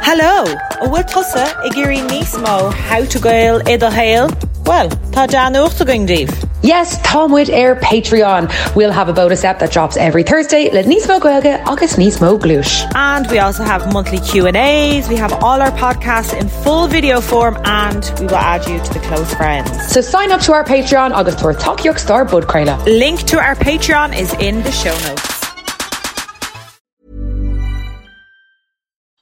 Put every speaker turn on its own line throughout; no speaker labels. Hello, a bhfuil tusa i ggéirí níos mó hátagail iad a héal? Well, tá dean uachta going díobh.
Yes, Tomwood Air Patreon. We'll have a bonus app that drops every Thursday. Let Nismo Goelga, August Nismo Glush.
And we also have monthly Q&As. We have all our podcasts in full video form and we will add you to the close friends.
So sign up to our Patreon, August Tor Talk York Star Bud Krayla.
Link to our Patreon is in the show notes.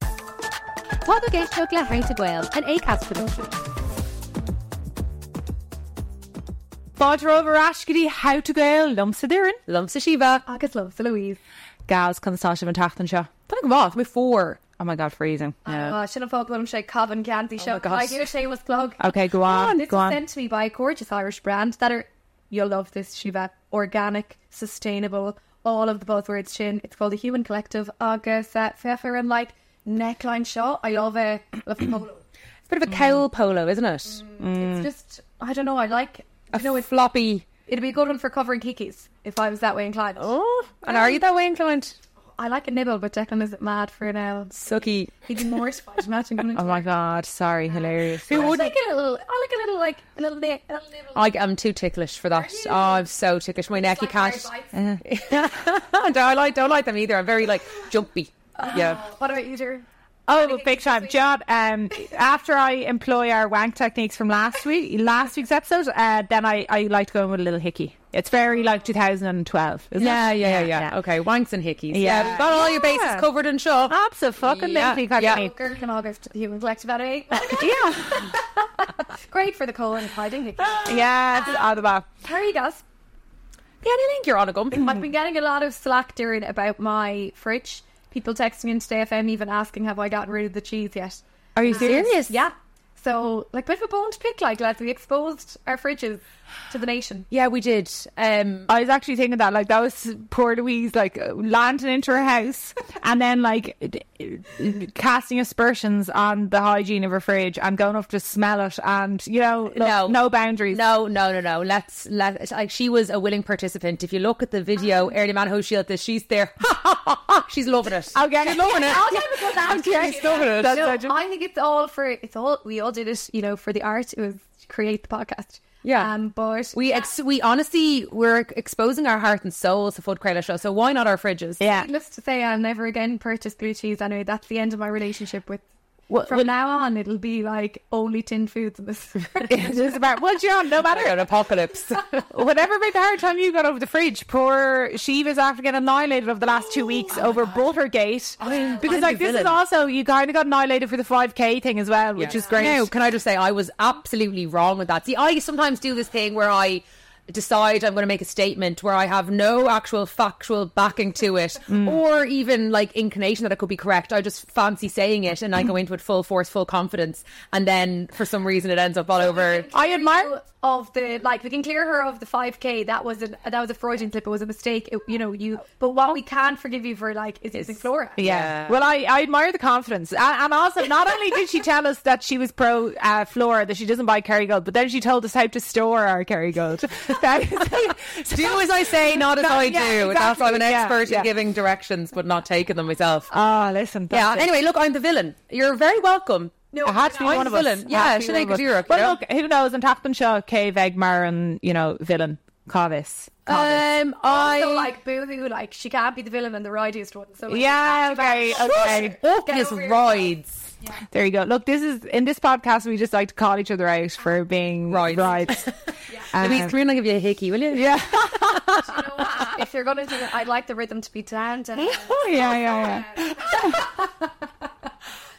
Tá géis tug le haint a ghil an écas production.
Bodro over Ashkadi, how to go, lumps of Durin,
Lum sa Shiva agus lum sa Louise.
Gaz, Constantia, and Tachtansha. Think of off, before. Oh my god, freezing.
Oh, sin an fog lum sé Cavan Gandy show.
Oh gosh.
I give a shameless plug.
Okay, go on,
This
go
is
on.
sent to me by a gorgeous Irish brand that are you'll love this Shiva organic, sustainable, all of the buzzwords. Shin. It's called the Human Collective. Agus uh, fefer and like neckline show. I love it. Love the polo.
It's a bit of a cowl polo, isn't it?
It's just I don't know. I like.
You know, it's floppy.
It'd be a good one for covering kikis if I was that way inclined.
Oh, and are you that way inclined?
I like a nibble, but Declan isn't mad for now.
Sucky.
He'd be mortified. Imagine going into
Oh my god, sorry, hilarious.
I like a little. I like a little like a little bit. A little nibble.
I, I'm too ticklish for that. Oh, I'm so ticklish. My neck, you can't.
Sorry, bites.
Uh-huh. don't like, don't like them either. I'm very like jumpy. Yeah.
What about you, dear?
Oh, well, big time job. Um, after I employ our wank techniques from last week, last week's episode, uh, then I, I like to go in with a little hickey. It's very like 2012, isn't
Oh. Yeah,
it?
yeah, yeah, yeah. Okay, wanks and hickeys. Yeah,
Yeah.
we've got all your bases
Yeah.
covered and shove.
Absolutely.
Yeah,
Yeah.
yeah.
Yeah.
Girl in August, the human collective at eight.
yeah.
Great for the cold and hiding.
Yeah. It's out of the back.
How are you guys?
Yeah, I think you're on a gum.
I've been getting a lot of slack, Darren, about my fridge. People texting me into FM, even asking, "Have I gotten rid of the cheese yet?"
Are you serious?
Yeah. So, like, bit of a bone to pick. Like, lads, we exposed our fridges to the nation.
Yeah, we did. Um,
I was actually thinking that, like, that was poor Louise, like, uh, landing into her house and then, like, d- d- casting aspersions on the hygiene of her fridge and going off to smell it and, you know, look,
No.
no. boundaries.
No, no, no, no. Let's let like she was a willing participant. If you look at the video, Early Man Who Shield this, she's there. she's loving it.
Okay.
She's loving it.
I'll give it a good
Okay,
answer.
stop it.
No, I think it's all for it's all we all did it, you know, for the art. It was to create the podcast.
Yeah.
Um, but we
We ex- we honestly we're exposing our heart and souls to Food Crailer Show, so why not our fridges?
yeah.
needless to say, I'll never again purchase blue cheese. Anyway, that's the end of my relationship with.
Well-
From
well-
now on, it'll be like only tin foods in this.
It is about once you're on, no matter
An apocalypse.
whatever big hard time you got over the fridge. Poor Shiva's after getting annihilated over the last
Oh
two weeks over Buttergate. because
I'm
like
the
this is
villain.
also you kind of got annihilated for the five k thing as well, which is great.
Now, can I just say I was absolutely wrong with that? See, I sometimes do this thing where I decide I'm going to make a statement where I have no actual factual backing to it
Mm.
or even like inclination that it could be correct. I just fancy saying it and I go into it full force, full confidence, and then for some reason it ends up all over.
I admire.
of the like we can clear her of the 5k that was an that was a freudian slip it was a mistake it, you know you but what we can forgive you for like is using flora
Yeah. Well, I, I admire the confidence. And, and also, not only did she tell us that she was pro uh, Flora, that she doesn't buy Kerrygold, but then she told us how to store our Kerrygold. That is-
Do as I say, not as
That-
I do.
yeah,
That's I'm an
exactly. Yeah,
expert
yeah.
in giving directions but not taking them myself.
oh, listen.
yeah.
that's it.
Anyway, look, I'm the villain. You're very welcome.
No,
It had to be
I'm
one of
the
us.
villain. Yeah,
Had to be
Sinead
one of us.
Gaduruk, you know?
Well, look, who knows? I'm talking Shaw, Cave, Egmar, and you know, villain Cavis.
Um, I
so like boo hoo like she can't be the villain and the rightiest one so like,
Yeah, okay, okay.
Orcus
over yourself.
rides.
There you go. Look, this is in this podcast we just like to call each other out for being
Right.
right. Right. Um,
Louise, come here and I'll give you a hickey, will you?
yeah.
you know what? if you're gonna do it i'd like the rhythm to be down down
Oh, yeah, yeah, yeah.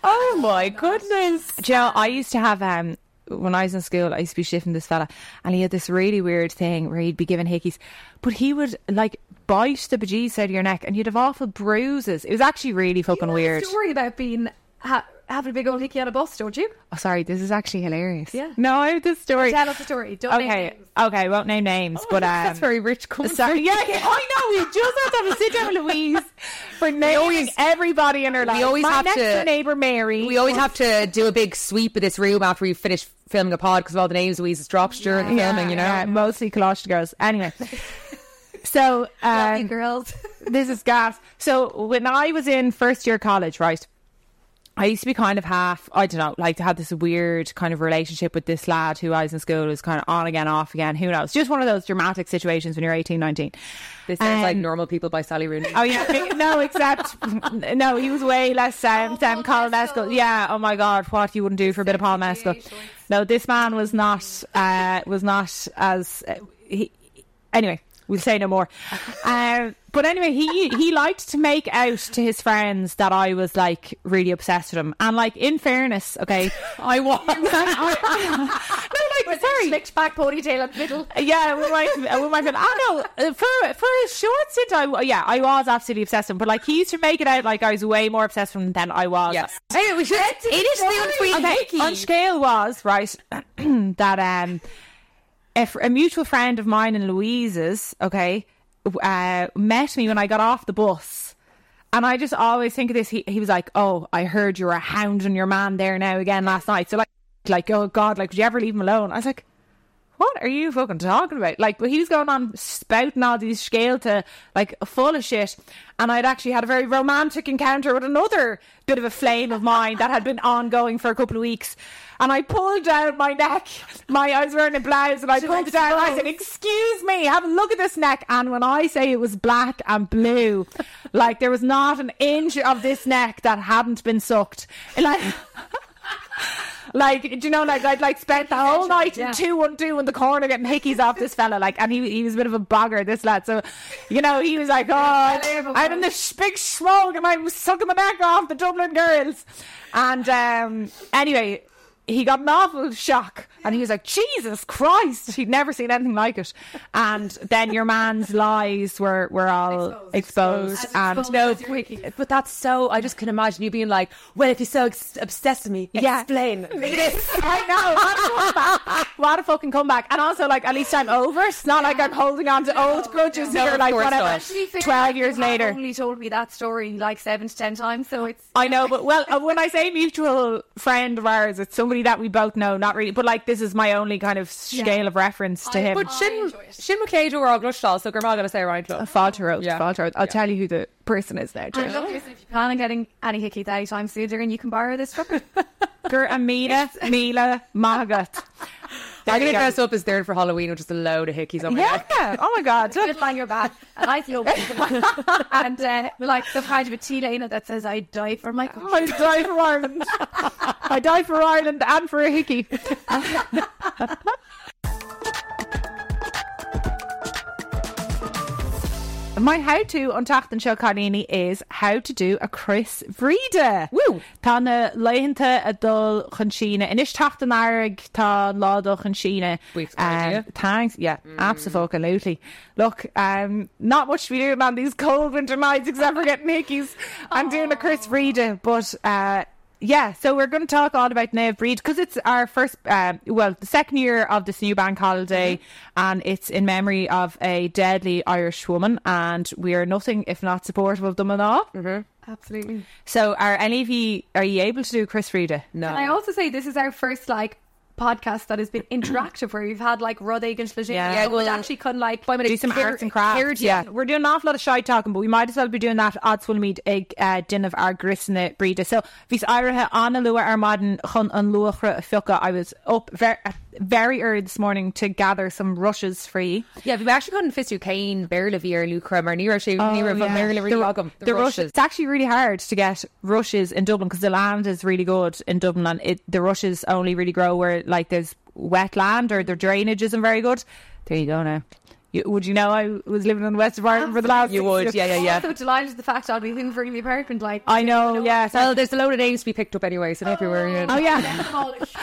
Oh my goodness.
Do you know, I used to have um when I was in school, I used to be shifting this fella, and he had this really weird thing where he'd be given hickeys, but he would like bite the bejesus out of your neck and you'd have awful bruises. It was actually really fucking weird.
Don't worry about being ha- having a big old hickey on a bus, don't you?
Oh, sorry, this is actually hilarious.
Yeah.
No, I have this story.
Tell us a story. Don't name
Okay,
names.
okay, won't name names, but um,
Oh, That's very rich comfort.
Sorry, yeah, yeah, I know. We just have to have a sit down, Louise, for knowing everybody in her life.
always
My
have
next
to-
door neighbor Mary.
We always have to do a big sweep of this room after we finish filming a pod because of all the names Louise has dropped during the filming, you know?
yeah, mostly collage girls. Anyway, so
Hey,
um,
girls.
this is gas. So when I was in first year college, right, I used to be kind of half, I don't know, like to have this weird kind of relationship with this lad who I was in school was kind of on again, off again. Who knows? Just one of those dramatic situations when you're 18, 19.
This sounds like
Um,
Normal People by Sally Rooney.
Oh yeah, no, except no, he was way less um, than Paul Mescal. Yeah, oh my God, what you wouldn't do for a bit of Paul Mescal? No, this man was not uh, was not as uh, he. Anyway, we'll say no more. Um, but anyway, he he liked to make out to his friends that I was like really obsessed with him, and like in fairness, okay,
I was.
no, like sorry,
Slicked back ponytail at the middle.
yeah, with my with my friend. I know uh, for for a short stint, I yeah, I was absolutely obsessed with him. But like he used to make it out like I was way more obsessed with him than I was.
Yes.
Anyway, we should.
It is the unsweet cookie.
On scale was right that um, if a mutual friend of mine and Louise's okay uh, met me when I got off the bus. And I just always think of this. He, he was like, "Oh, I heard you were hounding your man there now again last night." So like, like, oh God, like, would you ever leave him alone? I was like, what are you fucking talking about? Like, but he was going on spouting all these scale to like full of shit. And I'd actually had a very romantic encounter with another bit of a flame of mine that had been ongoing for a couple of weeks. And I pulled down my neck. My I was wearing a blouse, and I pulled it down. And I said, "Excuse me, have a look at this neck." And when I say it was black and blue, like there was not an inch of this neck that hadn't been sucked. And like. Like, do you know, like, I'd like spent the whole night in two and two in the corner getting hickeys off this fella. Like, and he, he was a bit of a bogger, this lad. So, you know, he was like, oh, I'm in this big smoke and I'm sucking my neck off the Dublin girls. And um, anyway, he got an awful shock and he was like, Jesus Christ, he'd never seen anything like it. And then your man's lies were, were all exposed. and
No, but that's so. I just can imagine you being like, "Well, if you're so ex- obsessed with me,
Yeah.
explain."
I know. What a comeback. What a fucking comeback. And also, like, at least I'm over. It's not like I'm holding on to old grudges
No,
here,
of
like,
course
whatever.
not.
To be fair,
12 years
you have
later.
only told me that story like seven to ten times, so it's.
I know, but well, uh, when I say mutual friend of ours, it's somebody that we both know, not really, but like this is my only kind of scale of reference to him.
But Shin
enjoy it.
Shin McClade or Glushal, so Grandma gonna say Ryan Club.
Fault road,
Yeah.
fault road. I'll tell you who the person is now.
And look, listen, if you plan on getting any hickeys anytime soon, and you can borrow this from
Gur Amina Mila Margaret.
I'm gonna dress up as there for Halloween, which is a load of hickeys on my
Yeah.
neck.
Oh my God. Look,
Good man, you're bad. And I feel bad. And uh, like the kind of a tea lane that says, I die for my country.
I die for Ireland. I die for Ireland and for a hickey. My how to on Tacht and Show Carlini is how to do a Chris Vrida.
Woo.
Tá na leihananta a dul chun sína. Inis tacht an airg tá ládul chun sína.
We've got an idea. Mm.
Thanks. Yeah, absolutely. Look, um, not much to be doing on these cold winter nights except for getting hickeys and doing a Chris Rita. But uh, yeah, so we're going to talk all about Nave Breed because it's our first, um, well, the second year of this new bank holiday,
Mm-hmm.
and it's in memory of a deadly Irish woman, and we are nothing if not supportive of them at all.
Absolutely.
So, are any of you are you able to do Chris Rita?
And I
No,
also say this is our first like podcast that has been interactive where we've had like Rod Egan's Lejeune.
Yeah.
Yeah,
Yeah, well,
well, actually can like do
do some arts and crafts. yeah. we're doing an awful lot of shy talking, but we might as well be doing that odds will meet ag uh, din of our grisna breeder. So vis irathe anna lua armadin chun an luachra a fiuca. I was up very, very early this morning to gather some rushes free.
yeah, we actually couldn't fist you, Kane, Berlavier, Lucra, Marnira, Shane,
Oh,
Nira, Marnira, Rogum,
Oh, the rushes. It's actually really hard to get rushes in Dublin because the land is really good in Dublin, and it, the rushes only really grow where like there's wetland or their drainage isn't very good. There you go now. You, would you know I was living on the west of Ireland for the last?
You
six
would,
years?
yeah, yeah,
I'm
yeah.
so delighted at the fact I'll be hoovering the apartment like
I know, yeah. so-
Well, there's a load of names to be picked up anyway, so don't be worrying.
oh, yeah.
Polish.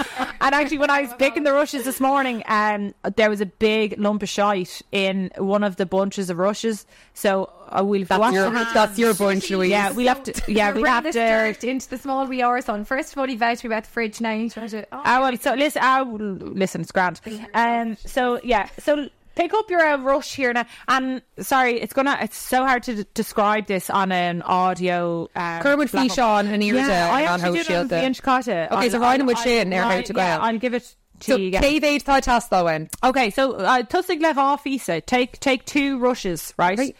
And actually, when I was picking the rushes this morning, um, there was a big lump of shite in one of the bunches of rushes. So uh, we'll have to
That's
wash
your,
the hands.
that's your bunch, Louise.
Yeah, we'll have to. Yeah,
Bring
we'll have
this
to.
dirt into the small wee hours on. First of all, he vouched me about the fridge. Now he's trying to. Oh,
Oh well, so listen. I will listen. It's grand. Um. So yeah. So pick up your uh, rush here now. And sorry, it's gonna. It's so hard to d- describe this on an audio. Um,
Kermit
platform.
Fleishan and Anita
Yeah, I
on How
actually do
Shield
it on
the-
Fian Chicata.
Okay, so Ryan with Shane there, How to Go
yeah,
Out.
I'll give it to
So
you. yeah.
David tá tá when
Okay, so uh, Tusig left off, Isa. Take take two rushes, right?
Right.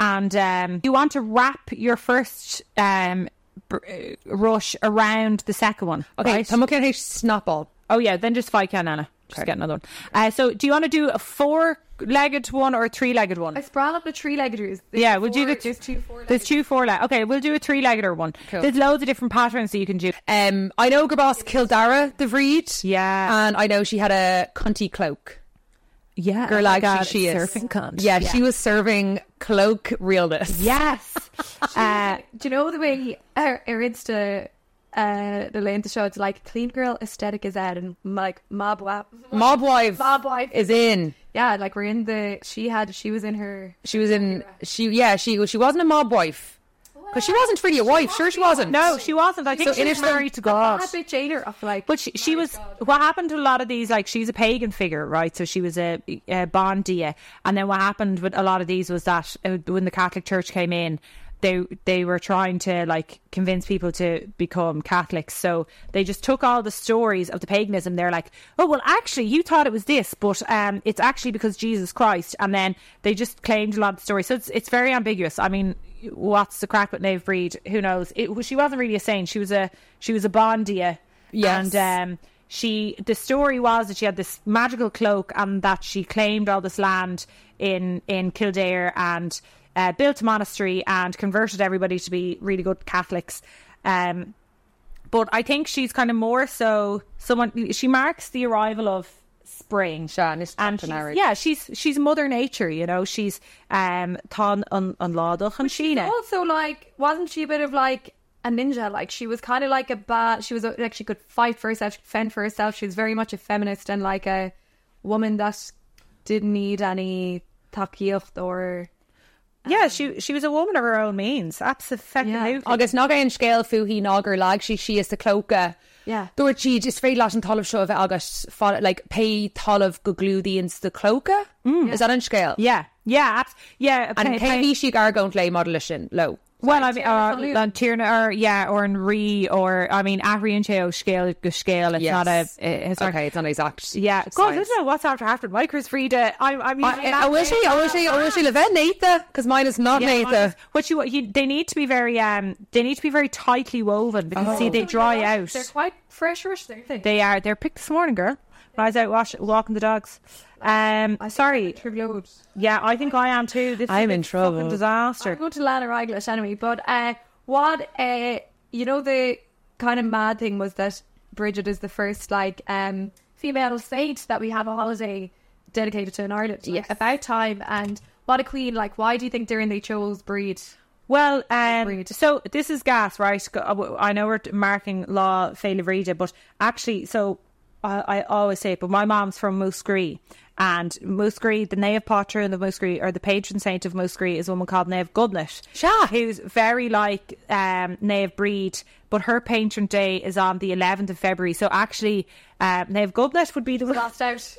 And um, you want to wrap your first um, br- uh, rush around the second one.
Okay,
right?
tá mucin hééis snapball.
oh yeah, then just five can Anna. Just get another one. Uh, so do you want to do a four-legged one or a three-legged one?
I sprawl up the tree legged roos.
yeah, we'll do
four-
the
there's two four-legged.
There's two four-legged. Okay, we'll do a three-leggeder one.
Cool.
There's loads of different patterns that you can do.
Um, I know Gabas Kildara the Vreed.
Yeah.
And I know she had a cunty cloak.
Yeah,
Girl, like she, she is.
Oh surfing cunt.
Yeah, she was serving cloak realness.
Yes. uh,
Do you know the way he, her, her Insta, uh, the lane to show it's like clean girl aesthetic is out and like mob wap.
Mm-hmm.
Mob wife.
Mob wife.
is in.
Yeah, like we're in the. She had. She was in her.
She was in. She yeah. She she wasn't a mob wife because she wasn't really a wife. Sure, she wasn't.
no, Oh, she wasn't. I think
So
she was
Innisfil-
married to God.
Happy jailer of like.
But she, she was what happened to a lot of these like she's a pagan figure right so she was a, a bondia and then what happened with a lot of these was that uh, when the Catholic Church came in they they were trying to like convince people to become Catholics so they just took all the stories of the paganism they're like oh well actually you thought it was this but um it's actually because Jesus Christ and then they just claimed a lot of stories so it's it's very ambiguous I mean what's the crack with Nave Breed who knows it was- she wasn't really a saint she was a she was a bondia
Yes.
and um, she, the story was that she had this magical cloak and that she claimed all this land in in Kildare and uh, built a monastery and converted everybody to be really good Catholics. Um, but I think she's kind of more so someone. She marks the arrival of spring.
Sure, and it's
And
chapter
she's-
narrative.
yeah, she's she's mother nature, you know. She's um Than on on Ládach and Sheena.
also like, wasn't she a bit of like a ninja? Like she was kind of like a bad. She was a- like she could fight for herself, she could fend for herself. She was very much a feminist and like a woman that didn't need any takiyucht or.
Yeah, she she was a woman of her own means. Absolutely.
Yeah.
Agus ná an scéil fuhí nágur lag si si is a cloca.
Yeah.
Dúir si is fé leis an talamh seo bheith agus fá like pe talamh go glúdaí in the cloca. Mm. Is that an scéil?
Yeah, yeah, abs- yeah.
And
okay,
pe hí si gar gon lé model sin lo.
Well, I mean, uh, on Tierna, or yeah, or in Re, or I mean, Ahri and Cheo scale, go scale. It's not a, a historic.
Okay, it's not exact.
Yeah, God, I
science.
don't know what's after after Micros Frida. I, I mean,
I wish he, I wish he, I wish he live in Natha, because mine is not
Yeah,
Natha.
what you, you they need to be very um they need to be very tightly woven because
Oh.
see they dry out.
They're quite fresh, fresh, aren't they?
They are they're picked this morning, girl. When I was out wash, walking the dogs. Um, sorry.
Trivial.
Yeah, I think I am too. This
I'm
is
in
a fucking
trouble.
Disaster.
Go to Lana Roglic anyway, but uh, what uh, you know the kind of mad thing was that Bridget is the first like um, female saint that we have a holiday dedicated to in Ireland. Like,
Yes.
about time and what a queen! Like, why do you think during they chose breed?
Well, um,
Agreed.
so this is gas, right? Go- uh, w- I know we're t- marking law failurita, but actually, so I, I always say it, but my mom's from Musgree, and Musgree, the Knave Potter and the Musgree, or the patron saint of Musgree, is a woman called Knave Goodnett,
Sha.
who's very like um, Knave Breed, but her patron day is on the 11th of February. So actually, uh, Knave Goodnett would be the
Last out.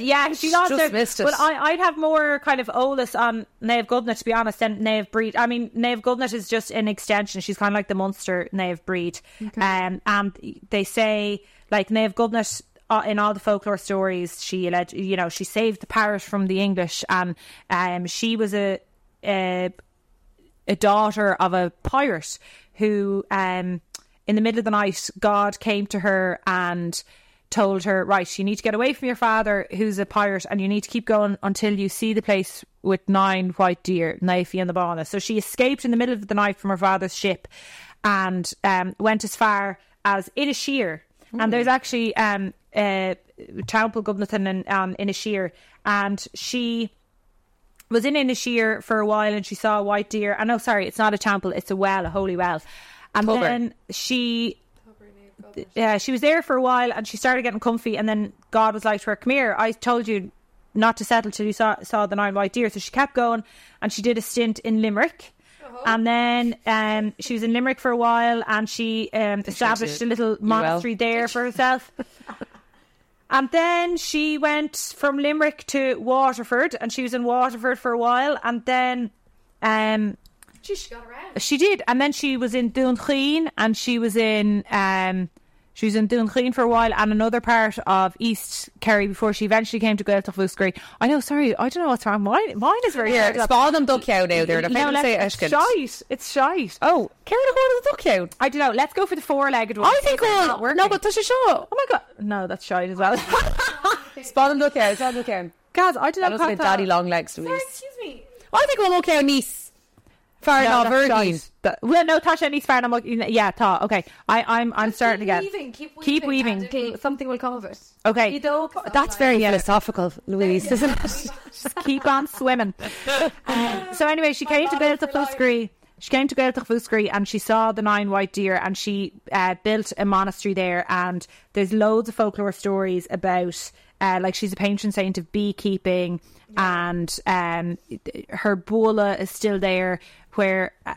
yeah, she lost
Just
it.
missed it.
But I, I'd have more kind of olus on Nave Goodnett, to be honest, than Nave Breed. I mean, Nave Goodnett is just an extension. She's kind of like the monster Nave Breed. Um, and they say, like, Nave Goodnett. Uh, in all the folklore stories, she alleged, you know, she saved the parish from the English, and um, she was a, a a daughter of a pirate who, um, in the middle of the night, God came to her and told her, Right, you need to get away from your father, who's a pirate, and you need to keep going until you see the place with nine white deer, Knifey and the Bana. So she escaped in the middle of the night from her father's ship and um, went as far as Inishere. And there's actually um, uh, Temple Gubnathan and um, Inishere, and she was in Inishir for a while and she saw a white deer. And oh, sorry, it's not a temple, it's a well, a holy well. And
Tubber.
then she yeah, she was there for a while and she started getting comfy. And then God was like to her, "Come here, I told you not to settle till you saw, saw the nine white deer." So she kept going and she did a stint in Limerick. And then um, she was in Limerick for a while, and she um, established a little monastery there for herself. And then she went from Limerick to Waterford, and she was in Waterford for a while, and then um,
She, she got around.
she did, and then she was in Duncheen, and she was in um, she was in Duncheen for a while, and another part of East Kerry before she eventually came to Gaeltachluscree. I know, sorry, I don't know what's wrong. Mine, mine is very
Here, spá them duck out now there.
No, let's- it's shite. It's shite.
Oh, Karen Horn is a duck out.
I don't know. Let's go for the four-legged one.
I think
It's
all.
not working.
No, but touch a show.
oh my god, no, that's shite as well.
Spá them duck out. Spá them duck out.
Guys, I don't
That
know.
looks like daddy long legs to me.
Excuse me.
I think we'll okay on Nice. Far
No,
enough,
that's
Virgin.
shite. That- well, no, Tasha and East I'm like, yeah, Ta. Okay, I, I'm, I'm starting
keep
again.
Weaving, keep weaving.
Keep weaving.
Candidly, Something will come of it.
Okay.
You know, 'cause
That's
I'm
very philosophical, Louise, isn't it?
Just keep on swimming. Uh, so anyway, she came to
motto
Gaeltacht
for life.
Fuscree. She came to Gaeltacht Fuscree and she saw the nine white deer and she uh, built a monastery there. And there's loads of folklore stories about, uh, like she's a patron saint of beekeeping, and um, her bula is still there where. Uh,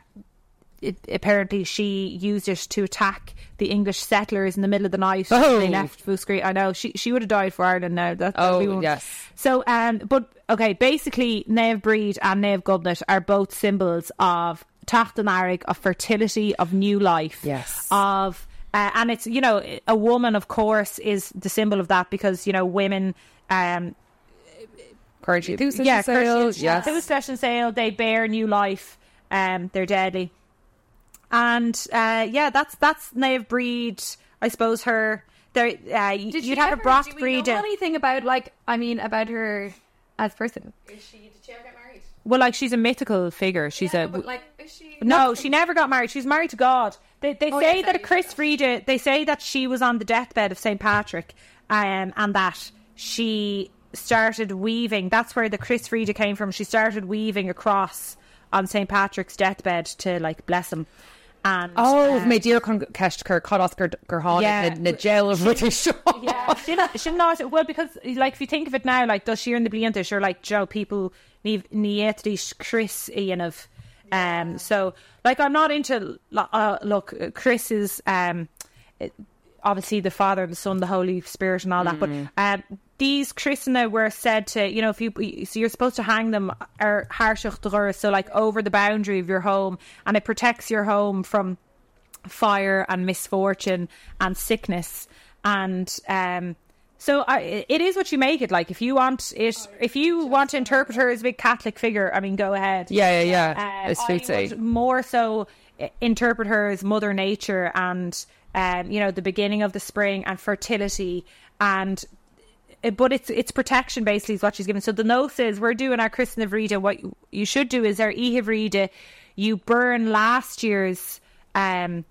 it, apparently, she used it to attack the English settlers in the middle of the night.
Oh.
They left Fuscree. I know she she would have died for Ireland now. That,
Oh,
we won't-
yes.
so, um, but okay, basically, Nave Breed and Nave Gubnet are both symbols of Tachtanaric, of fertility, of new life.
Yes.
Of, uh, and it's, you know, a woman, of course, is the symbol of that because, you know, women, um,
Courage, enthusiasm,
yeah,
sales,
yes.
yes.
It was session sale, they bear new life, um, they're deadly. And, uh, yeah, that's, that's Nave Breed, I suppose, her. There, uh,
Did
you'd
she
have
ever,
a broth
do we
breed. uh,
Know anything about like I mean about her as person? Is she? Did she ever get married?
Well, like she's a mythical figure. She's a
but like is she?
No, she never got married. She was married to God. They, they
Oh,
say
yes, I
that
knew
Chris Frieda, they say that she was on the deathbed of St. Patrick um, and that she started weaving. That's where the Chris Frieda came from. She started weaving a cross on St. Patrick's deathbed to like bless him. And
Oh,
um,
my dear Keshker, cut Oscar Gerhan
Yeah.
in the jail of British.
yeah. she not, she not well because like if you think of it now, like does she in the blianta, sure like Joe people need Chris Ian of um so like I'm not into lo- uh, look Chris is um it- obviously the Father the Son the Holy Spirit and all that but um these christener were said to you know if you so you're supposed to hang them er, or so like over the boundary of your home and it protects your home from fire and misfortune and sickness and um so I, it is what you make it like if you want it if you want to interpret her as a big catholic figure i mean go ahead
Yeah, yeah,
Uh,
yeah. It's
I
food
would more so i- interpret her as mother nature and um you know the beginning of the spring and fertility and it- but it's it's protection basically is what she's given. So the note is we're doing our Christian Evrida. What you- you should do is our Evrida. You burn last year's um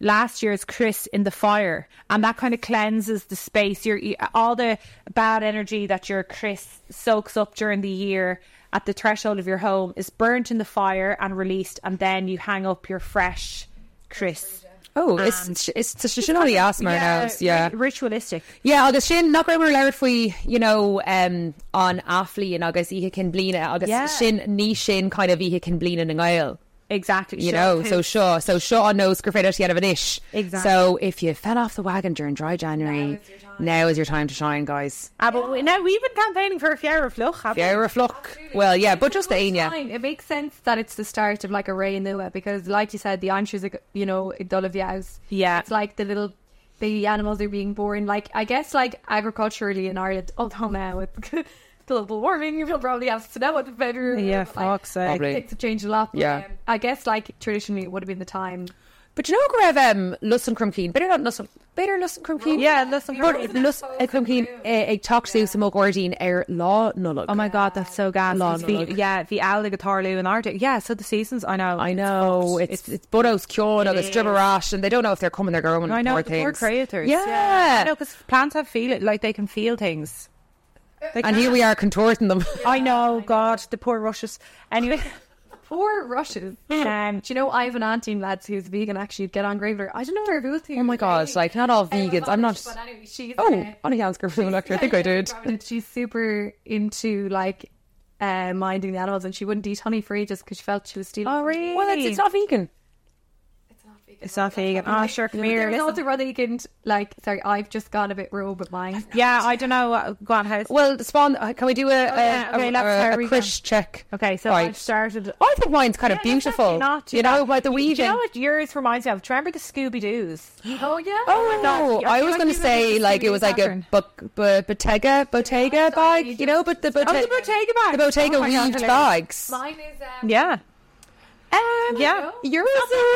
last year's Chris in the fire, and that kind of cleanses the space. Your you- all the bad energy that your Chris soaks up during the year at the threshold of your home is burnt in the fire and released, and then you hang up your fresh Chris.
Oh, it's it's Tishin only asthma now. Yeah.
ri- ritualistic.
Yeah, agus sin nach raimar leir faoi you know um, an aflííon agus ihe cin blina agus
Yeah.
yeah. sin ní sin kind of ihe cin blina na gail.
Exactly.
You
Sure.
know, so sure, so sure on knows Grafredo she had of an ish.
Exactly.
So if you fell off the wagon during dry January, now is your time to shine, guys.
Ah, but we, now we've been campaigning for a Fiera Fluch. haven't we?
Yeah, a flock. Well, yeah, but just the
It's
ain, yeah.
fine. It makes sense that it's the start of like a Ray Nua because, like you said, the answers, are, you know, Dolaviaus.
Yeah.
It's like the little baby animals are being born. Like, I guess, like agriculturally in Ireland, although now with global warming, you'll probably have to know what the better.
Yeah,
but, like,
fuck's sake.
Probably.
Things have changed a lot. But,
Yeah.
Um, I guess, like, traditionally, it would have been the time.
But you know, Grav, um, Lus and Crumkeen, better not Lus and better Lus and Crumkeen.
Yeah, Lus and
But
Crumkeen.
Lus and Crumkeen, a talk to some Ogordine air law nullag.
Oh my god, that's so gas.
Long
It's the-
look.
Yeah, the owl, the guitar, Lou, and Arctic. Yeah, so the seasons, I know.
I know it's it's, it's Budos, Kyon, it's Dribberash, and they don't know if they're coming or going.
I know,
poor
the poor
things.
creators.
Yeah,
I know, because plants have feel it, like they can feel things.
and here we are contorting them.
I know, God, the poor rushes. Anyway,
Poor rushes.
Um,
Do you know I have an auntie in lads who's vegan? Actually, would get on great with her. I don't know her rules.
Oh my god, like not all vegans. I'm not.
But anyway, she's
Oh,
uh,
on a Yansker film actor. I think I did.
And she's super into like uh, minding the animals, and she wouldn't eat honey for ages because she felt she was stealing.
oh, really?
Well,
Ah,
it's, it's not vegan.
It's not vegan. Oh, sure, come here.
There's
listen.
also rather vegan. Like, sorry, I've just gone a bit rural with mine.
Yeah, I don't know. Go on, house.
Well, spawn. uh, Can we do a
Oh, yeah,
a,
okay,
a,
let's
a,
start
a
recon.
Chris check?
Okay, so
Right.
I've started.
I think mine's kind of
Yeah, that's actually
beautiful.
not too
you know
bad.
about the
Do
weaving.
you know what yours reminds me of? Do you remember the Scooby Doo's?
Oh yeah.
Oh no!
yeah,
I
you
was
might
going
be
to
right,
say
it's
like it
gonna
was
be
like a
Catherine.
but, but, Bottega Bottega bag, you know, but Oh, the Bottega,
the Bottega bag.
the Bottega
Oh my God,
weaved
hilarious.
bags.
Mine is um,
Yeah. Um,
yeah.
Yours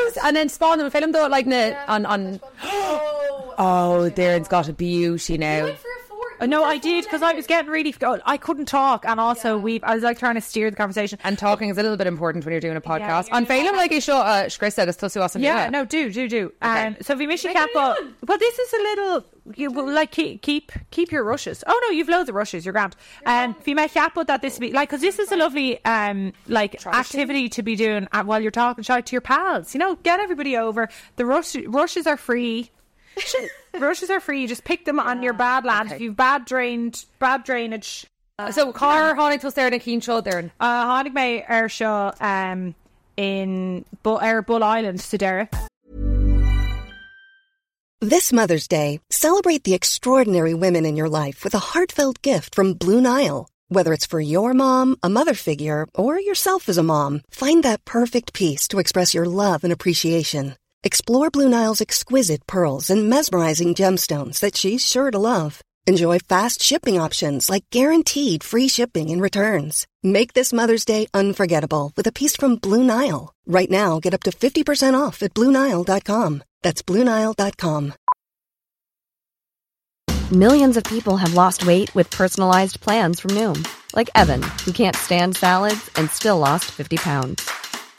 is, and then Spawn them, film though, like na- on on.
Oh,
Oh, Darren's got a beauty
I
now.
went for a fort.
Uh, No, I did because I was getting really. oh, I couldn't talk, and also we. I was like trying to steer the conversation.
And talking is a little bit important when you're doing a podcast.
you're
and film like you show uh, Chris said, it's tussle awesome.
Yeah, no, do do do. Um, so Vimishi
Make it a
Capo.
new one.
Well, this is a little you well, like keep keep keep your rushes. Oh no, you've loads of rushes. You're grand. Um, Vimishi Capo that this be like because this is a lovely um like activity to be doing uh, while you're talking shout to your pals. You know, get everybody over. The rush, rushes are free. rushes are free. You just pick them on your bad land. If you've bad drained bad drainage.
So Car Honig to Sarah Keen show Darren.
Uh, Honig May Airshaw um in Bu- Air Bull Island, Sidera.
This Mother's Day, celebrate the extraordinary women in your life with a heartfelt gift from Blue Nile. Whether it's for your mom, a mother figure, or yourself as a mom, find that perfect piece to express your love and appreciation. Explore Blue Nile's exquisite pearls and mesmerizing gemstones that she's sure to love. Enjoy fast shipping options like guaranteed free shipping and returns. Make this Mother's Day unforgettable with a piece from Blue Nile. Right now, get up to 50% off at BlueNile.com. That's BlueNile.com.
Millions of people have lost weight with personalized plans from Noom, like Evan, who can't stand salads and still lost 50 pounds.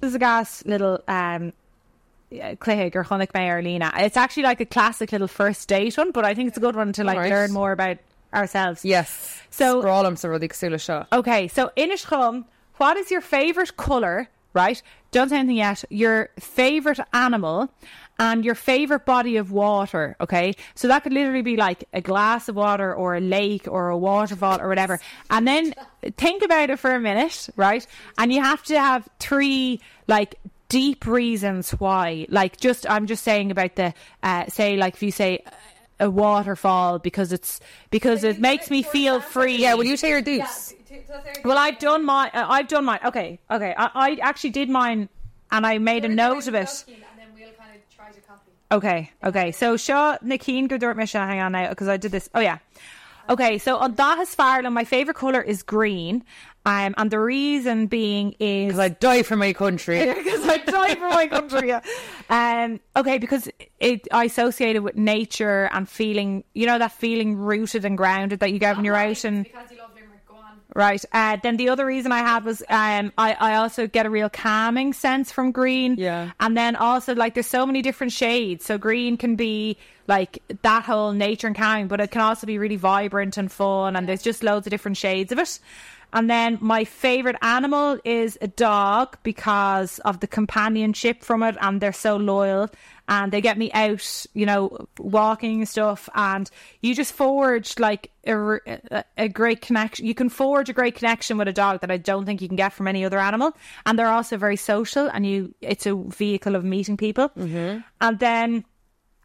This is a gas little um Cléig or Honnick May Arlena. It's actually like a classic little first date one, but I think it's a good one to like
Alright.
learn more about ourselves.
Yes.
So-
Sprawl him so really Casula show.
Okay, so Inish Chum, what is your favourite colour, right? Don't say anything yet. Your favourite animal and your favourite body of water, okay? So that could literally be like a glass of water or a lake or a waterfall or whatever. And then think about it for a minute, right? And you have to have three, like, deep reasons why. Like, just, I'm just saying about the, uh, say, like, if you say, a waterfall because it's because it makes me feel free.
Yeah, will you say your deuce?
Well, I've done my, uh, I've done mine. Okay, okay. I, I actually did mine, and I made a note of it. Okay, okay. So Shaw Nikeen Gurdort Misha, hang on now, because I did this. Oh yeah. Okay, so on that is Farland, my favourite colour is green. Um, and the reason being is
Because I die for my country.
because I died for my country. Yeah. Um, okay, because it I associate it with nature and feeling, you know, that feeling rooted and grounded that you get when you're out and Right. Uh, then the other reason I had was um, I, I also get a real calming sense from green.
Yeah.
And then also, like, there's so many different shades. So green can be like that whole nature and calming, but it can also be really vibrant and fun. And there's just loads of different shades of it. And then my favorite animal is a dog because of the companionship from it, and they're so loyal and they get me out, you know, walking and stuff. And you just forge like a, r- a- a great connection. You can forge a great connection with a dog that I don't think you can get from any other animal. And they're also very social, and you it's a vehicle of meeting people. Mm-hmm. And then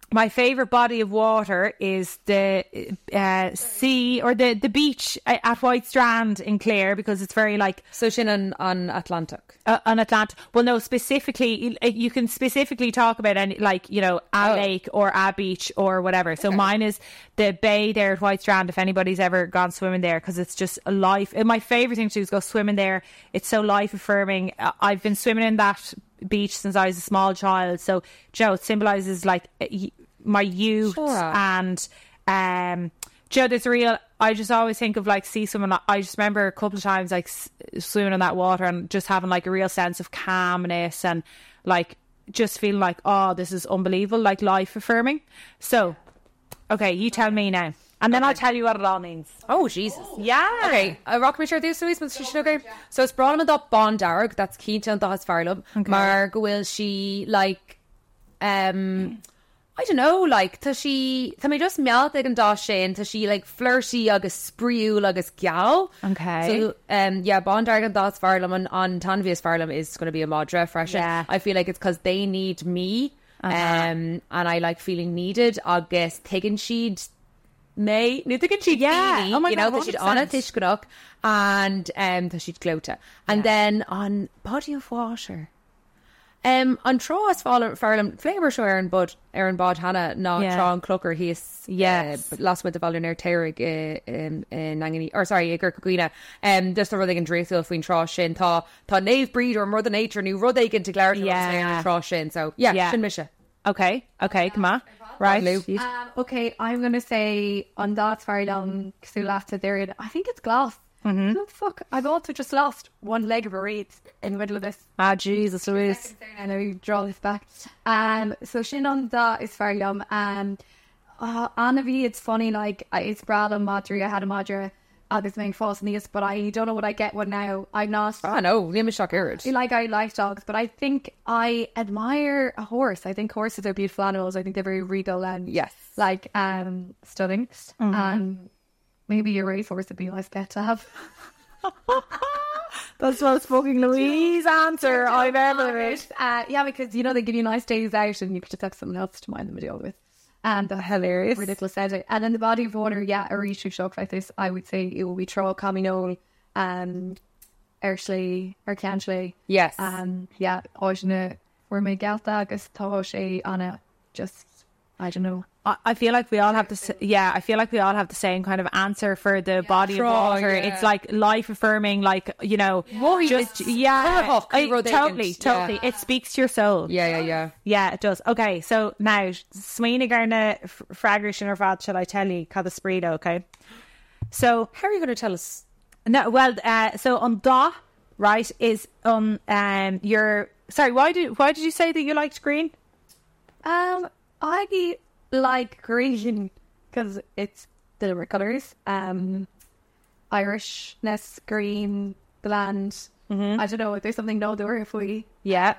my favorite body of water is the uh, sea or the the beach a- at White Strand in Clare because it's very like
So Shin on, on Atlantic.
uh, on Atlantic. Well, no, specifically eh, you- you can specifically talk about any like you know a lake or a beach or whatever. So mine is the bay there at White Strand. If anybody's ever gone swimming there, because it's just a life. And my favorite thing to do is go swimming there. It's so life affirming. Uh, I've been swimming in that beach since I was a small child. So Joe, it symbolizes like uh, y- my youth
Sure.
and um Joe, there's a real. I just always think of like sea swimming. I just remember a couple of times like s- swimming in that water and just having like a real sense of calmness and like just feeling like oh this is unbelievable, like life affirming. So, okay, you tell me now, and then I'll tell you what it all means.
Oh Jesus.
Yeah.
Okay, uh, rock me sure this is but she's okay. So it's brought him that bond dark, that's keen to that's Farlub. Okay. Marg will she like um I don't know, like tá she tá mé just mealt ag an dá sin tá she like flirty agus spriú agus gal.
Okay.
So um yeah, bond dark and that's Farlum and on Tanvius Farlum is gonna be a Madra fresh.
Yeah. Uh-huh.
I feel like it's cause they need me. Um and I like feeling needed agus taking she'd May nu gan siad
Yeah.
daoine,
Oh my
you
God,
know, tá siad
100%.
anna tuiscinach and um, tá siad glóta and then on body of water um, an tro as farlam flavor show Aaron Bud Aaron Bod Hannah ná
Yeah.
Sean Clucker he is
Yes.
uh, last with the Valner Terrig uh, um, in Angani or sorry Igor Coquina um, just a rudig an dréil faoin tro sin tá tá nave breed or mother nature new rudig into clarity
Yeah.
tro sin so yeah,
Yeah.
yeah. sin misha
Okay, okay, come on, right?
Lou.
Um, okay, I'm gonna say on that very long Sulata there. in- I think it's glass. Who
Mm-hmm.
the fuck? I've also just lost one leg of a reed in the middle of this.
Ah, Jesus, Louise.
I know you draw this back. Um, so sin on that is very yum. Um, uh, Anavi, it's funny. Like I- it's Brad and Madri. I had a Madra. Uh, this main false knees, but I don't know what I get one now. I'm not.
ah no Liam is shock Aaron
I like I like dogs, but I think I admire a horse. I think horses are beautiful animals. I think they're very regal and
Yes.
like um stunning. Um, maybe a racehorse would be a nice pet to have.
That's the most fucking Louise answer I've ever heard.
Uh, yeah, because you know they give you nice days out, and you could just have someone else to mind them to deal with. And the
Hilarious.
ridiculous edit. And in the body of water, yeah, a really shock like this, I would say it will be Troll, Communal, um, Ershley, Ercantley.
Yes.
Um, yeah, Oisne, where my Galta, agus tá sé Anna, just, I don't know.
I I feel like we all have the s- yeah. I feel like we all have the same kind of answer for the body
Sure,
of water.
yeah.
It's like life affirming, like you know,
Why
just
it's
yeah,
Clodagh,
I-
Clodagh,
totally,
yeah.
totally. It speaks to your soul.
yeah yeah yeah
yeah, it does. Okay, so now Sweeney Garna Fragger Shinnerfad, shall I tell you, Cadasprido? Okay, so
how are you going to tell us
no, well, uh, so on da right is on um your sorry. Why did why did you say that you liked green?
Um, I like green because it's the different colours. Um, Irishness, green, the land.
Mm-hmm.
I don't know. There's something no there if we.
Yeah.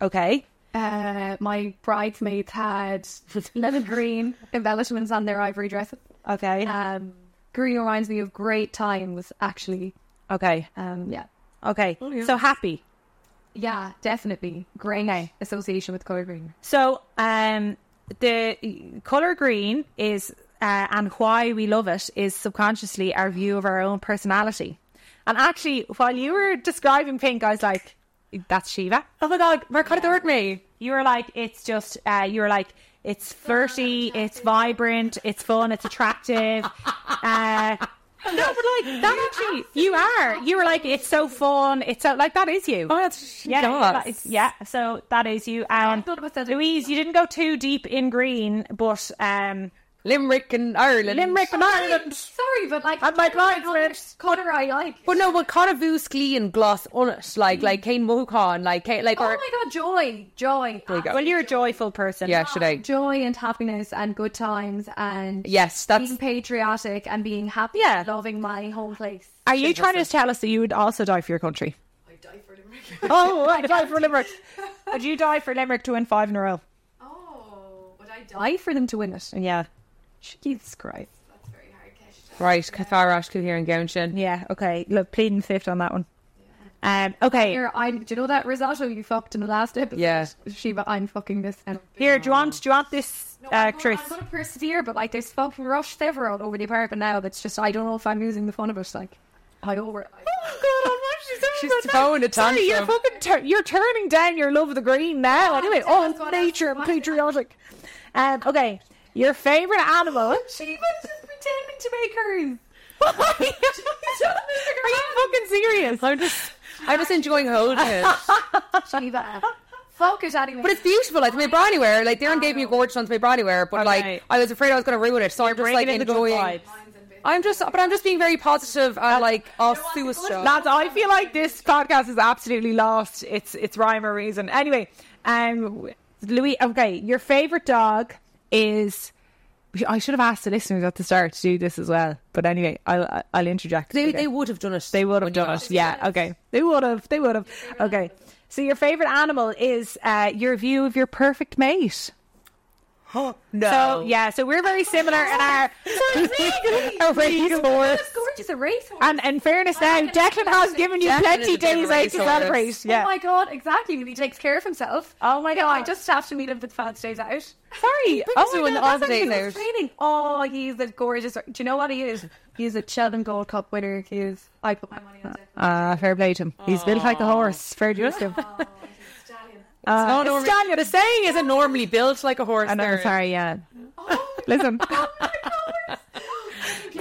Okay.
Uh, my bridesmaids had lemon green embellishments on their ivory dresses.
Okay.
Um, green reminds me of great times, actually.
okay.
Um, yeah.
Oh,
Okay. So happy.
Yeah, definitely. Great association with colour green.
So um, the color green is, uh, and why we love it is subconsciously our view of our own personality. And actually, while you were describing pink, I was like, "That's Shiva."
oh my god Mark how yeah. me
You were like, "It's just," uh, you were like, "It's flirty, it's vibrant, it's fun, it's attractive." uh, no, but like that actually, you are. You were like, "It's so fun, it's so like that is you."
oh that's
Yeah,
God.
that is- yeah. So that is you. Um, Louise, you didn't go too deep in green, but um,
Limerick and Ireland.
Limerick and Ireland.
Sorry, but like,
And my bridesmaids.
colour I like.
But no, but kind of Glee and gloss on it, like like Kane Mohan, like Kane, like
Oh
or
my god, joy, joy. There you
Well, you're a joyful person.
yeah, should I?
Joy and happiness and good times and
Yes, that's
being patriotic and being happy,
Yeah.
and loving my home place.
Are you trying to tell us that you would also die for your country? I die for Limerick. oh, I die for Limerick. Would you die for Limerick to win five in a row?
Oh, would I die for them to win it?
Yeah.
Jesus Christ.
right. Catharash, Kuhir and Gounshin.
Yeah. Okay. Look, pleading fifth on that one. Um, okay,
Here, I do you know that risotto you fucked in the last episode?
Yeah.
Shiva, I'm fucking this. And
here, do you want do you want this uh,
I'm
Chris?
gonna- I'm gonna persevere, but like there's fucking rush several over the apartment now. That's just I don't know if I'm losing the fun of it. Like I over.
She's throwing a
Sorry, you're
tantrum.
fucking tur- you're turning down your love of the green now. anyway,
tell us
oh
what
nature
else-
and patriotic. Um, okay, your favorite animal?
Shiva's just pretending to make hers.
Are you fucking serious?
I'm just, I'm just enjoying holding it.
Shiva, focus anyway.
But it's beautiful. Like, it's my brownie wear. Like, Darren gave me
Oh.
a gorgeous one to my brownie wear, but like,
Okay.
I was afraid I was going to ruin it, so I'm just like
Bringing in the good
enjoying.
vibes.
I'm just, but I'm just being very positive and like off suicide. stuff.
Lads, I feel like this podcast is absolutely lost. It's it's rhyme or reason. Anyway, um, Louis, okay, your favorite dog is. I should have asked the listeners at the start to do this as well, but anyway, I'll I'll interject.
They,
Okay.
they would have done it.
They would
when
have
you
done
asked.
it. Yeah. Okay. They would have. They would have. Okay. So your favorite animal is uh, your view of your perfect mate.
No.
So yeah. So we're very similar in our our racehorse.
gorgeous. A racehorse.
And in fairness, now Declan has given you
Declan is
plenty
a bit of
days
a
out to
racehorse.
celebrate.
Oh
Yeah.
my god, exactly. He takes care of himself.
Oh my
You know, I
God.
just have to meet him for the five days out.
Sorry.
us
Oh
to
my
an
God,
all
that's
day
amazing.
there.
Training. Oh, he's a gorgeous. Do you know what he is? He's a Cheltenham Gold Cup winner. He is. I put Uh, my money on him.
Ah, fair play to him. He's built like a horse. Fair dues to him.
Oh,
no,
Uh,
normally,
Stallion.
the saying isn't normally built like a horse.
I know.
Darren.
Sorry. Yeah.
Oh,
Listen.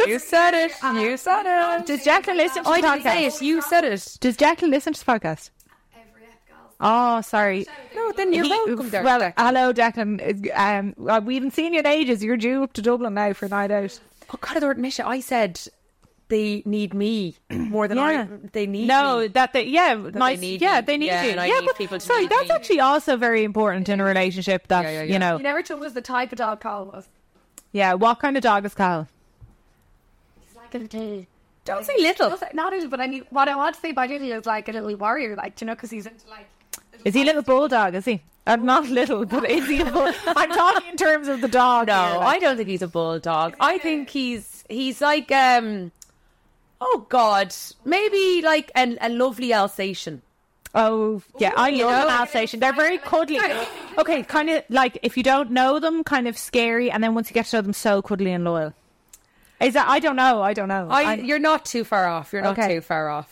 You said it. You said it.
Does Declan listen to
I
the
didn't say
podcast?
it. You said it.
Does Declan listen to the podcast? Oh, sorry.
No, then you're
He-
welcome, Darren.
Well, hello, Declan. Um, well, we haven't seen you in ages. You're due up to Dublin now for a night out.
oh God, Lord Misha, I said they need me more than
Yeah.
I. They need me.
that they yeah,
nice- need yeah, you. they need Yeah, you. and I Yeah, need but- people to sorry,
sorry,
need
that's
that's me.
actually
actually
also very important in a relationship. That
Yeah, yeah,
you
yeah.
know,
You never told us the type of dog Carl was.
yeah. What kind of dog is Kyle?
Don't say little.
Not that- Not as, but I mean, what I want to say about it is like a little warrior, like you know, because he's into like.
Is he a little bulldog? Is he? Uh, not little, but is he? A bull- I'm talking in terms of the dog.
No,
here, like-
Oh, I don't think he's a bulldog. I think he's he's like um oh god, maybe like an, a lovely Alsatian.
Oh, yeah, I love
know.
an Alsatian. They're very cuddly. Okay, kind of like if you don't know them, kind of scary, and then once you get to know them, so cuddly and loyal. Is that? I don't know. I don't know.
I,
I'm-
you're not too far off. You're not
Okay.
too far off.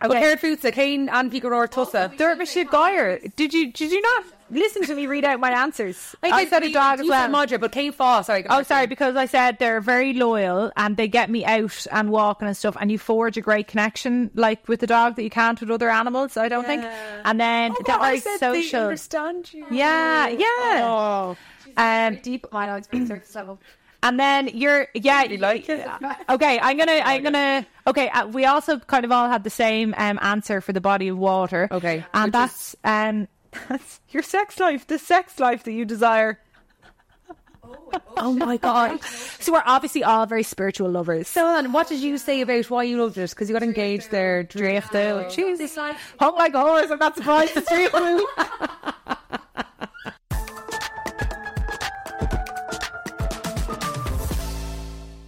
But
Okay.
Hair Foods, Kane and Picaror Tussa.
Dirt Michelle Goyer. Did you did you not listen to me read out my answers? I,
did-
said a
you-
dog as
you said
well.
Madra, but Kane Faw, sorry.
Oh, sorry, because I said they're very loyal and they get me out and walking and stuff, and you forge a great connection like with the dog that you can't with other animals. I don't think, and then
Oh,
they're
God, I
very
said they
social.
understand you.
yeah, yeah.
Oh.
Um,
Deep mine on its surface level.
and then you're yeah you like it okay i'm gonna i'm gonna okay uh, we also kind of all had the same um answer for the body of water
Okay,
and
which
that's um that's your sex life the sex life that you desire
oh my god.
so we're obviously all very spiritual lovers so
So on, what did you say about why you loved it? Because you got engaged there, Drift.
though jesus hung like a horse Oh i'm not surprised it's real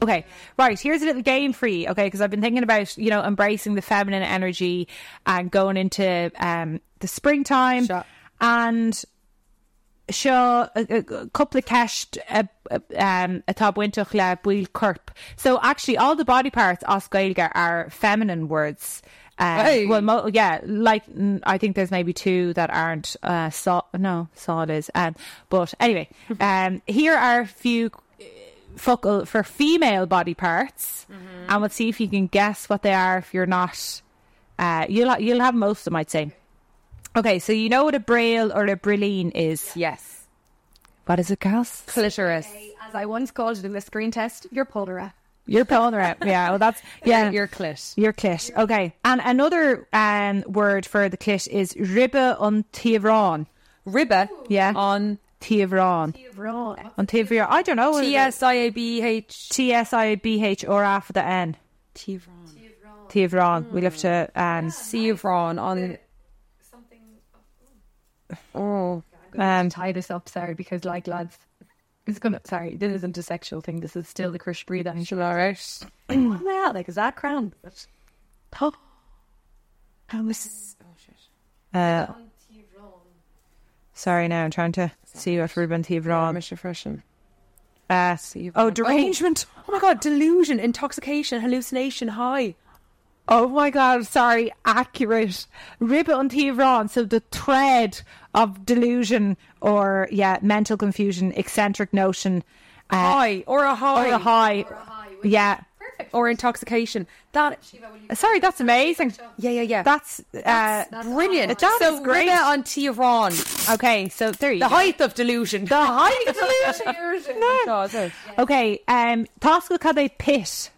Okay, right. Here's a little game for you. Okay, because I've been thinking about you know embracing the feminine energy and going into um, the springtime
Sure.
and show a, a, a couple of cast a um a tab wintoch le buil curp. So actually, all the body parts osgailga are feminine words. Um,
Hey.
Well, mo- yeah, like mm, I think there's maybe two that aren't. Uh, saw no, saw it is. Um, but anyway, um, here are a few uh, focal for female body parts,
Mm-hmm.
and we'll see if you can guess what they are. If you're not, uh, you'll ha- you'll have most of them, I'd say. Okay, so you know what a braille or a brilline is.
Yes.
What is it, Cass?
Clitoris.
As I once called it in the screen test, you're Polera.
You're pulling her out. Yeah, well, that's yeah.
Your clit.
Your clit. Okay. And another um, word for the clit is ribba on tivron.
Ribba.
Yeah.
On
Tivron.
Wrong.
On tivron. I don't know.
T S I A B H.
T S I B H or after the N.
Tivron.
Tivron. We'll have to. Um,
Tivron on. Oh.
um,
Tie this up, sorry, because like lads, it's gonna. Sorry, this isn't a sexual thing. This is still the Chris breather.
Angela, right?
Yeah, like is that crown? Oh.
How was? Uh, sorry, now I'm trying to see you after Ruben Tivron.
Mr. Freshen.
Uh, oh, derangement.
Oh my god, delusion, intoxication, hallucination, high.
Oh my god, sorry, accurate. Ribbit and Tivron, so the thread of delusion or yeah, mental confusion, eccentric notion. Uh,
High or a high.
Or a high. yeah. Uh,
Perfect.
Or intoxication. That
Sorry, that's amazing.
Yeah, yeah, yeah.
That's, uh,
Brilliant.
That
so
is great.
Rina on Tehran,
okay, so there you
the
go.
height of delusion. The height of delusion.
no.
Okay, um Tosca Cabe Pit.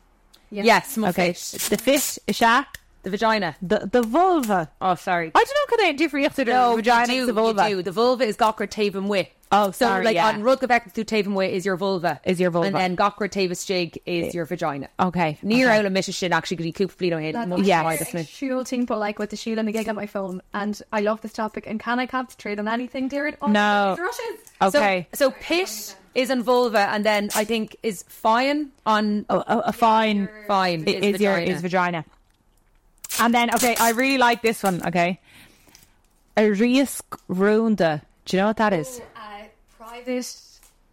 Yes, my
Okay.
fish.
The fish Isha.
The vagina.
The the vulva.
Oh, sorry.
I don't know could they differ to the vagina
you do,
the vulva.
You do. The vulva is Gokra Tavum Wi.
Oh,
so
sorry,
like
yeah.
on Rud Quebec through Tavum Wi is your vulva.
Is your vulva.
And then Gokra Tavis Jig is your vagina.
Okay,
Near okay. Ola Mishishin actually could be Coop Flino Head.
yeah.
Shul Tinkle like with the shield and the gig on my phone, and I love this topic. And can I concentrate on anything, dear? Oh,
No.
it's Rushes.
Okay.
So, so Pish is on vulva and then I think is Fine on
oh, oh, a fine
Fine
It is, your is vagina. And then okay, I really like this one. Okay, Arius runda. Do you know what that is?
A private,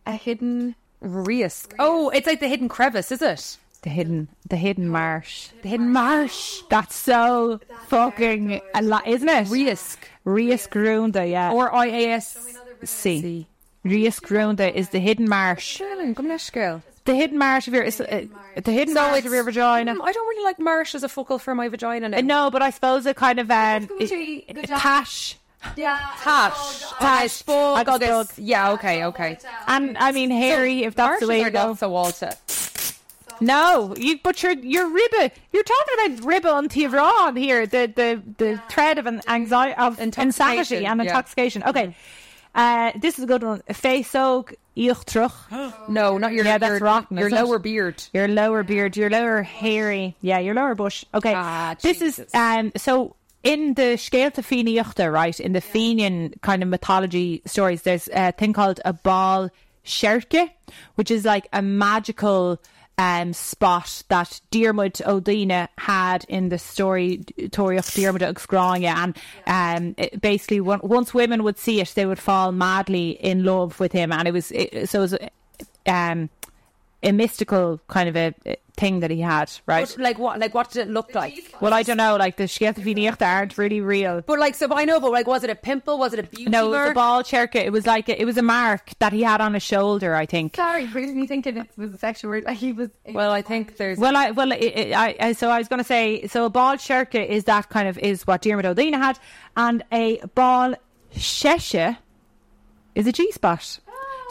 a hidden.
Risk. Oh, it's like the hidden crevice, is it?
The hidden, the hidden marsh, the hidden marsh. That's so fucking a lot, isn't it?
Risk.
Rius runda, yeah.
Or IAS.
C. Rius runda is the hidden marsh. The hidden marsh of your is uh, the hidden marsh of your vagina.
I don't really like Marsh as a focal for my vagina now.
Uh, No, but I suppose it kind of um,
Good
it,
job.
it, tash.
Yeah.
Tash. Tash.
I just
Bogus.
dug.
Yeah, okay, okay.
And I mean, hairy, if that's the way
Marshes
you
are
go.
not so Walter.
No, you but your your ribba you're talking about ribba and Tivron here, the the, the thread of an anxiety of
Intoxication,
insanity and
yeah. Mm-hmm.
intoxication. Okay. Uh, this is a good one. Feisog Ichtruch.
No, not your
Yeah, that's
your,
rotten,
your
isn't it?
lower beard.
Your lower beard, your lower hairy yeah, your lower bush. Okay.
Ah,
this is
Jesus.
um so in the Skelte Feniuchta, right, in the Fenian kind of mythology stories, there's a thing called a ball sherke, which is like a magical um, spot that Diarmuid Odina had in the story Torioch Diarmuid Uxgrania. And um, it basically, on- once women would see it, they would fall madly in love with him. And it was, it, so it was uh, um, a mystical kind of a uh, thing that he had, right?
But like what? Like what did it look like?
Well, I don't know. Like the Schietterfinierta aren't really real.
But like, so I know, but like, was it a pimple? Was it a beauty
No, it was
mark?
a ball cherka. It was like a, it was a mark that he had on his shoulder. I think.
Sorry, really me thinking it was a sexual word. Like he was.
Well, I think there's.
Well, I well, it, it, I, I so I was going to say so a ball cherka is that kind of is what Dermot O'Dina had, and a ball shesha is a G spot.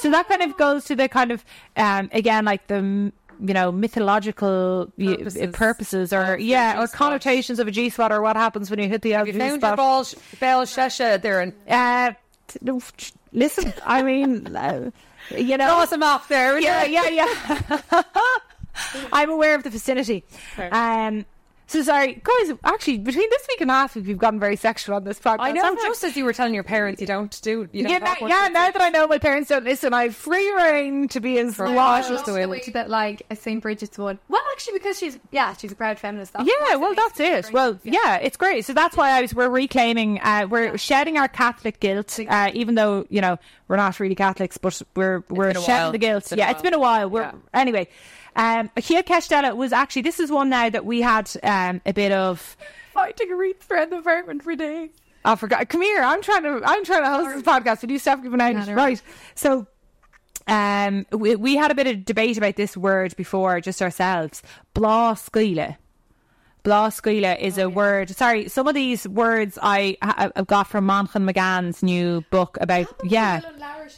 So that kind of goes to the kind of um again like the mm, you know mythological y- purposes, or yeah or connotations of a G spot or what happens when you hit the
you
G
found your
spot.
ball, sh- bell shesha there and
Uh, t- no, t- listen, I mean, uh, you know,
toss him off there.
yeah, yeah, yeah. I'm aware of the vicinity. Um, so sorry, guys. Actually, between this week and last week, we've gotten very sexual on this podcast.
I know.
I'm like-
Just as you were telling your parents, you don't do. You don't
yeah,
talk
now,
much
yeah.
about
Now
it.
that I know my parents don't listen, I have free reign to be as
Gosh,
lavish as
just
the
the
way.
way that like a St. Bridget's one. Well, actually, because she's yeah, she's a proud feminist. That's
Yeah,
why
well,
it makes
that's
me
it.
great.
Well, yeah, it's great. So that's why I was, we're reclaiming, uh, we're shedding our Catholic guilt, uh, even though you know we're not really Catholics, but we're we're
been a
shedding
while.
the guilt.
It's been a
yeah, it's
while.
been a while. We're
Yeah.
anyway. Um, Achille Castella was actually this is one now that we had um, a bit of.
fighting a wreath throughout the apartment for days.
I forgot. Come here. I'm trying to. I'm trying to host this podcast with you, Stephanie Benighted.
no.
Right. So, um, we, we had a bit of debate about this word before, just ourselves. Blasquila. Blasquila is
Oh,
a word. Sorry, some of these words I I- I've got from Monchan McGann's new book about yeah.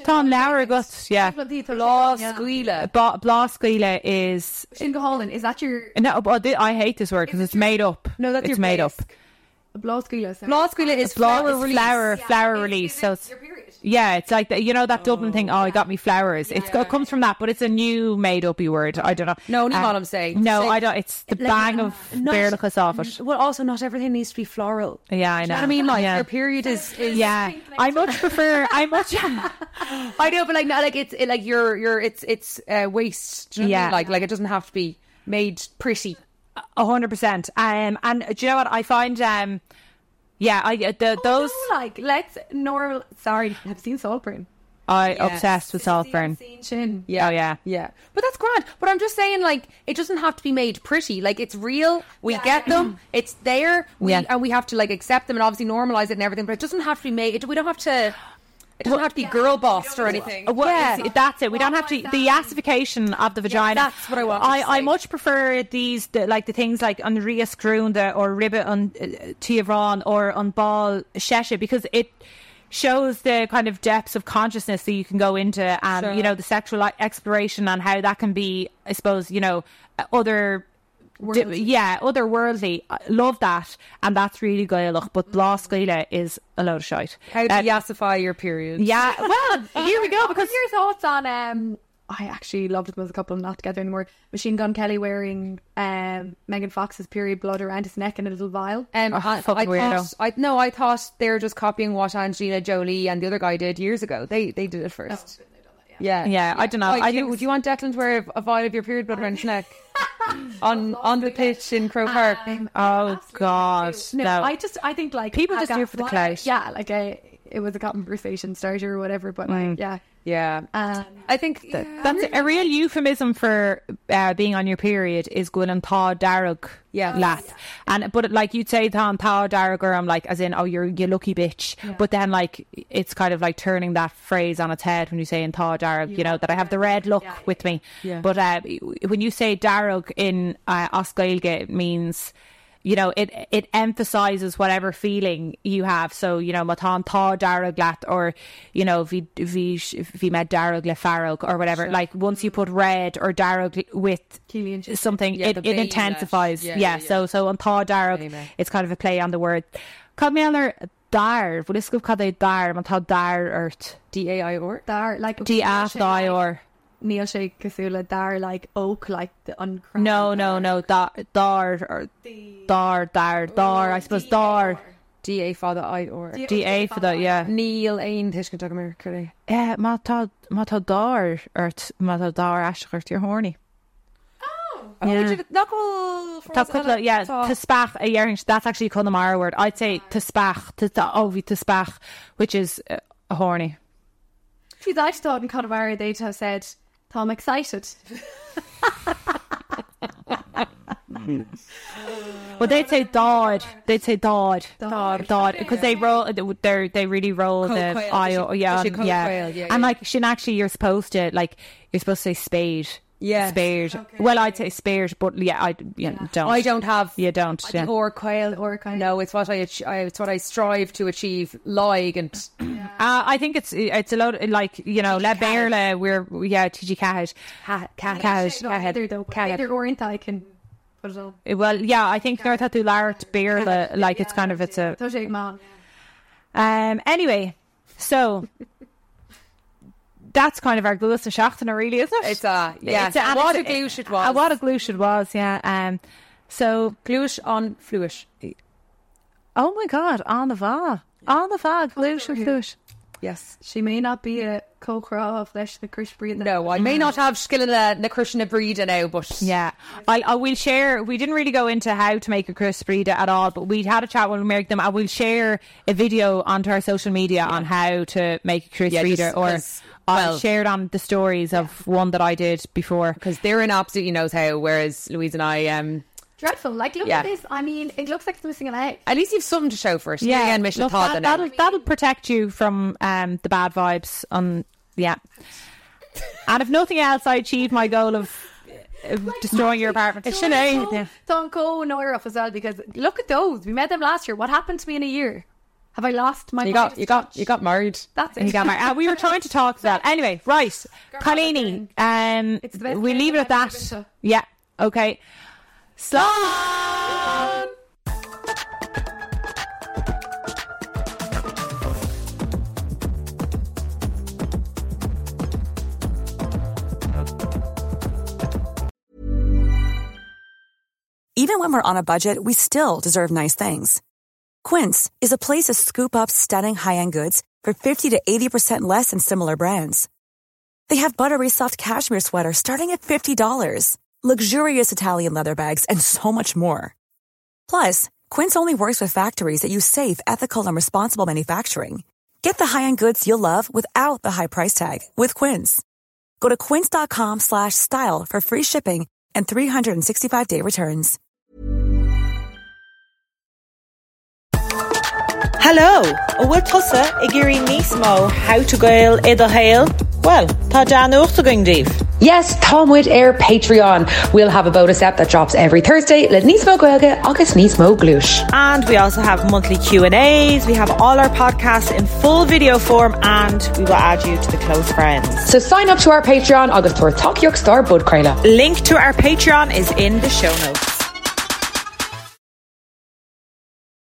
Tom Lauer got yeah.
Blah,
Yeah.
squealer.
Blasquila is
Shingo Holland, is that your
no. but th- I hate this word because it's made up.
No, that's
it's
your
made up.
blow school?
Blah, squealer
Blas-
is flower
it's
release.
flower, flower release. so it's- Yeah, it's like the, you know that Dublin thing. Oh, I got me flowers. It's it comes from that, but it's a new made up word. I don't know.
No, not
Um,
what I'm saying.
No,
Say-
I don't. It's the bang of Berlicus off it.
Well, also not everything needs to be floral.
Yeah, I
Do you
know.
know what I mean? Like
Yeah.
your period is is
Yeah, I much prefer. I much.
I know, but like not like it's it, like your your it's it's uh, waste. Do you know what I
Yeah.
mean? like like it doesn't have to be made pretty.
A hundred percent. Um, and do you know what I find? Um, Yeah, I uh, the, those
No, like let's normal. Sorry, I've seen Saltburn.
I obsessed with Saltburn.
Seen Shin.
Yeah. Oh yeah.
Yeah. But that's grand. But I'm just saying, like, it doesn't have to be made pretty. Like, it's real. We get them. It's there. We,
Yeah.
And we have to, like, accept them and obviously normalize it and everything. But it doesn't have to be made. It, we don't have to. It doesn't have to be girl bossed or anything.
Uh, Well, it's- that's
Oh,
it. We don't have to the yassification of the vagina.
that's what I wanted
I,
to
I
say.
much prefer these the, like the things like on Rias Grunda or Ribbit on uh, Tiavron or on Ball Shesha because it shows the kind of depths of consciousness that you can go into and you know the sexual like, exploration and how that can be I suppose you know uh, other di- yeah otherworldly I love that and that's really Gaelic but Blas Gaelic is a load of shite
Mm-hmm. How to
Uh,
yassify your period.
yeah well here we go
What
because
was your thoughts on um I actually loved them as a couple, not together anymore. Machine Gun Kelly wearing um Megan Fox's period blood around his neck in a little vial.
Um, I,
Oh, fucking
I
weirdo.
thought, I no, I thought they were just copying what Angelina Jolie and the other guy did years ago. They Oh, they did it first. yeah.
Yeah, I dunno.
Like,
I
do,
think-
would you want Declan to wear a, a vial of your period blood around his neck on on the pitch in Crow Park?
Oh gosh,
No,
no!
I just I think like
People
I
just
got-
do it for the
what-
clout.
Yeah, like I it was a conversation starter or whatever, but
Mm.
like yeah.
yeah,
Um,
I think that,
That's a real euphemism for uh, being on your period is going and thaw darug.
Yeah.
lass. And but like you'd say thaw and thaw darug, or I'm like as in oh you're you lucky bitch. But then like it's kind of like turning that phrase on its head when you say in thaw darug, you, know that I have the red look with me. But uh, when you say darug in uh, Oscailge, it means you know it it emphasizes whatever feeling you have so you know matan tha daraglat or you know vi vi vi med darag le farog or whatever like once you
Mm-hmm.
put red or darag with
Cillian Sheen.
something
Yeah,
it,
the
it
bay
intensifies
lash.
yeah,
Yeah, yeah, yeah.
so so on tha darag
Anyway.
it's kind of a play on the word Cadmeller dar bhfuil is go cad é dar man tá dar ort
D A I or
Dar like
dí ath dá or
Neil Shea Kasula, Dar like oak, like the uncrowned.
no no no da- dar or dar dar dar I suppose dar
D A father I or
D A for that yeah
Neil Ain Tishkin Tugamir Curry.
Uh, má tá má tá dáir art má tá dá asgurt ar horny. Tá cupla yeah
Tá-
to spach a yearing that's actually called the Mara word. I'd say to spach to tá ovi to oh, spach which is uh, a horny.
She's I thought in Connemara they'd have said, Tom excited.
Well they'd say dád they'd say dád dád because they roll they they really roll
Cold
the
quail,
eye
she-
o- yeah
she cold
yeah
quail, yeah,
and
yeah.
like shin actually you're supposed to like you're supposed to say spade
Yes.
spade well I'd say spade but yeah I yeah, don't
I don't have
you don't
I
yeah.
think or quail or
quail.
No, it's what I, ach- I it's what I strive to achieve. Lig and
Uh, I think it's it's a lot like you know La Berla we're yeah TG Cahill Cahill
No, either though. Either orient I can put it all.
well yeah I think North Hatu Lart Berla like it's kind of it's a
So shake man.
um anyway so that's kind of our glue and shachting really isn't it
It's a- yeah.
it's a, and
What
it's
a glúis it was.
a, what a glue it was yeah um so
gluish on fluish.
oh my god on the va on the va glue glue
Yes.
She may not be a co-craw of flesh the Chris breed.
No, I may not have skill in a na Krishna breed now, but
Yeah, I, I will share. We didn't really go into how to make a crisp burrito at all, but we had a chat when we made them. I will share a video onto our social media on how to make a crisp
Yeah,
burrito,
just
or
'cause-
I'll
well-
share it on the stories of one that I did before.
because Theron absolutely knows how, whereas Louise and I, um,
dreadful. Like look
Yeah.
at this. I mean, it looks like it's missing an eye.
at least you've something to show for it. Yeah, again, Mission
look,
Thought
that,
that,
that'll that'll protect you from um, the bad vibes. On yeah, and if nothing else, I achieved my goal of. of destroying your apartment. It's Sinead.
Don't go nowhere off as well because look at those. We met them last year. What happened to me in a year? Have I lost my?
you got,
point?
you got, you got married.
That's
He
it.
got married. Uh, we were trying to talk to that. Anyway, right. Colleen, um,
It's the best
we
game
leave it at
I've ever been
that.
to.
Yeah. Okay. Slán!
Even when we're on a budget, we still deserve nice things. Quince is a place to scoop up stunning high-end goods for 50 to 80% less than similar brands. They have buttery soft cashmere sweaters starting at $50, luxurious Italian leather bags, and so much more. Plus, Quince only works with factories that use safe, ethical, and responsible manufacturing. Get the high-end goods you'll love without the high price tag with Quince. Go to quince.com/style slash style for free shipping and 365-day returns.
Hello, a bhfuil tusa i ggéirí níos mó how to gail i do héil? Well, tá dean uachta going díobh.
Yes, Tomwood Air Patreon. We'll have a bonus app that drops every Thursday. Let Nismo Goelga, August Nismo Glush.
And we also have monthly Q&As. We have all our podcasts in full video form and we will add you to the close friends.
So sign up to our Patreon, August Tor Talk York Star Bud Krayla.
Link to our Patreon is in the show notes.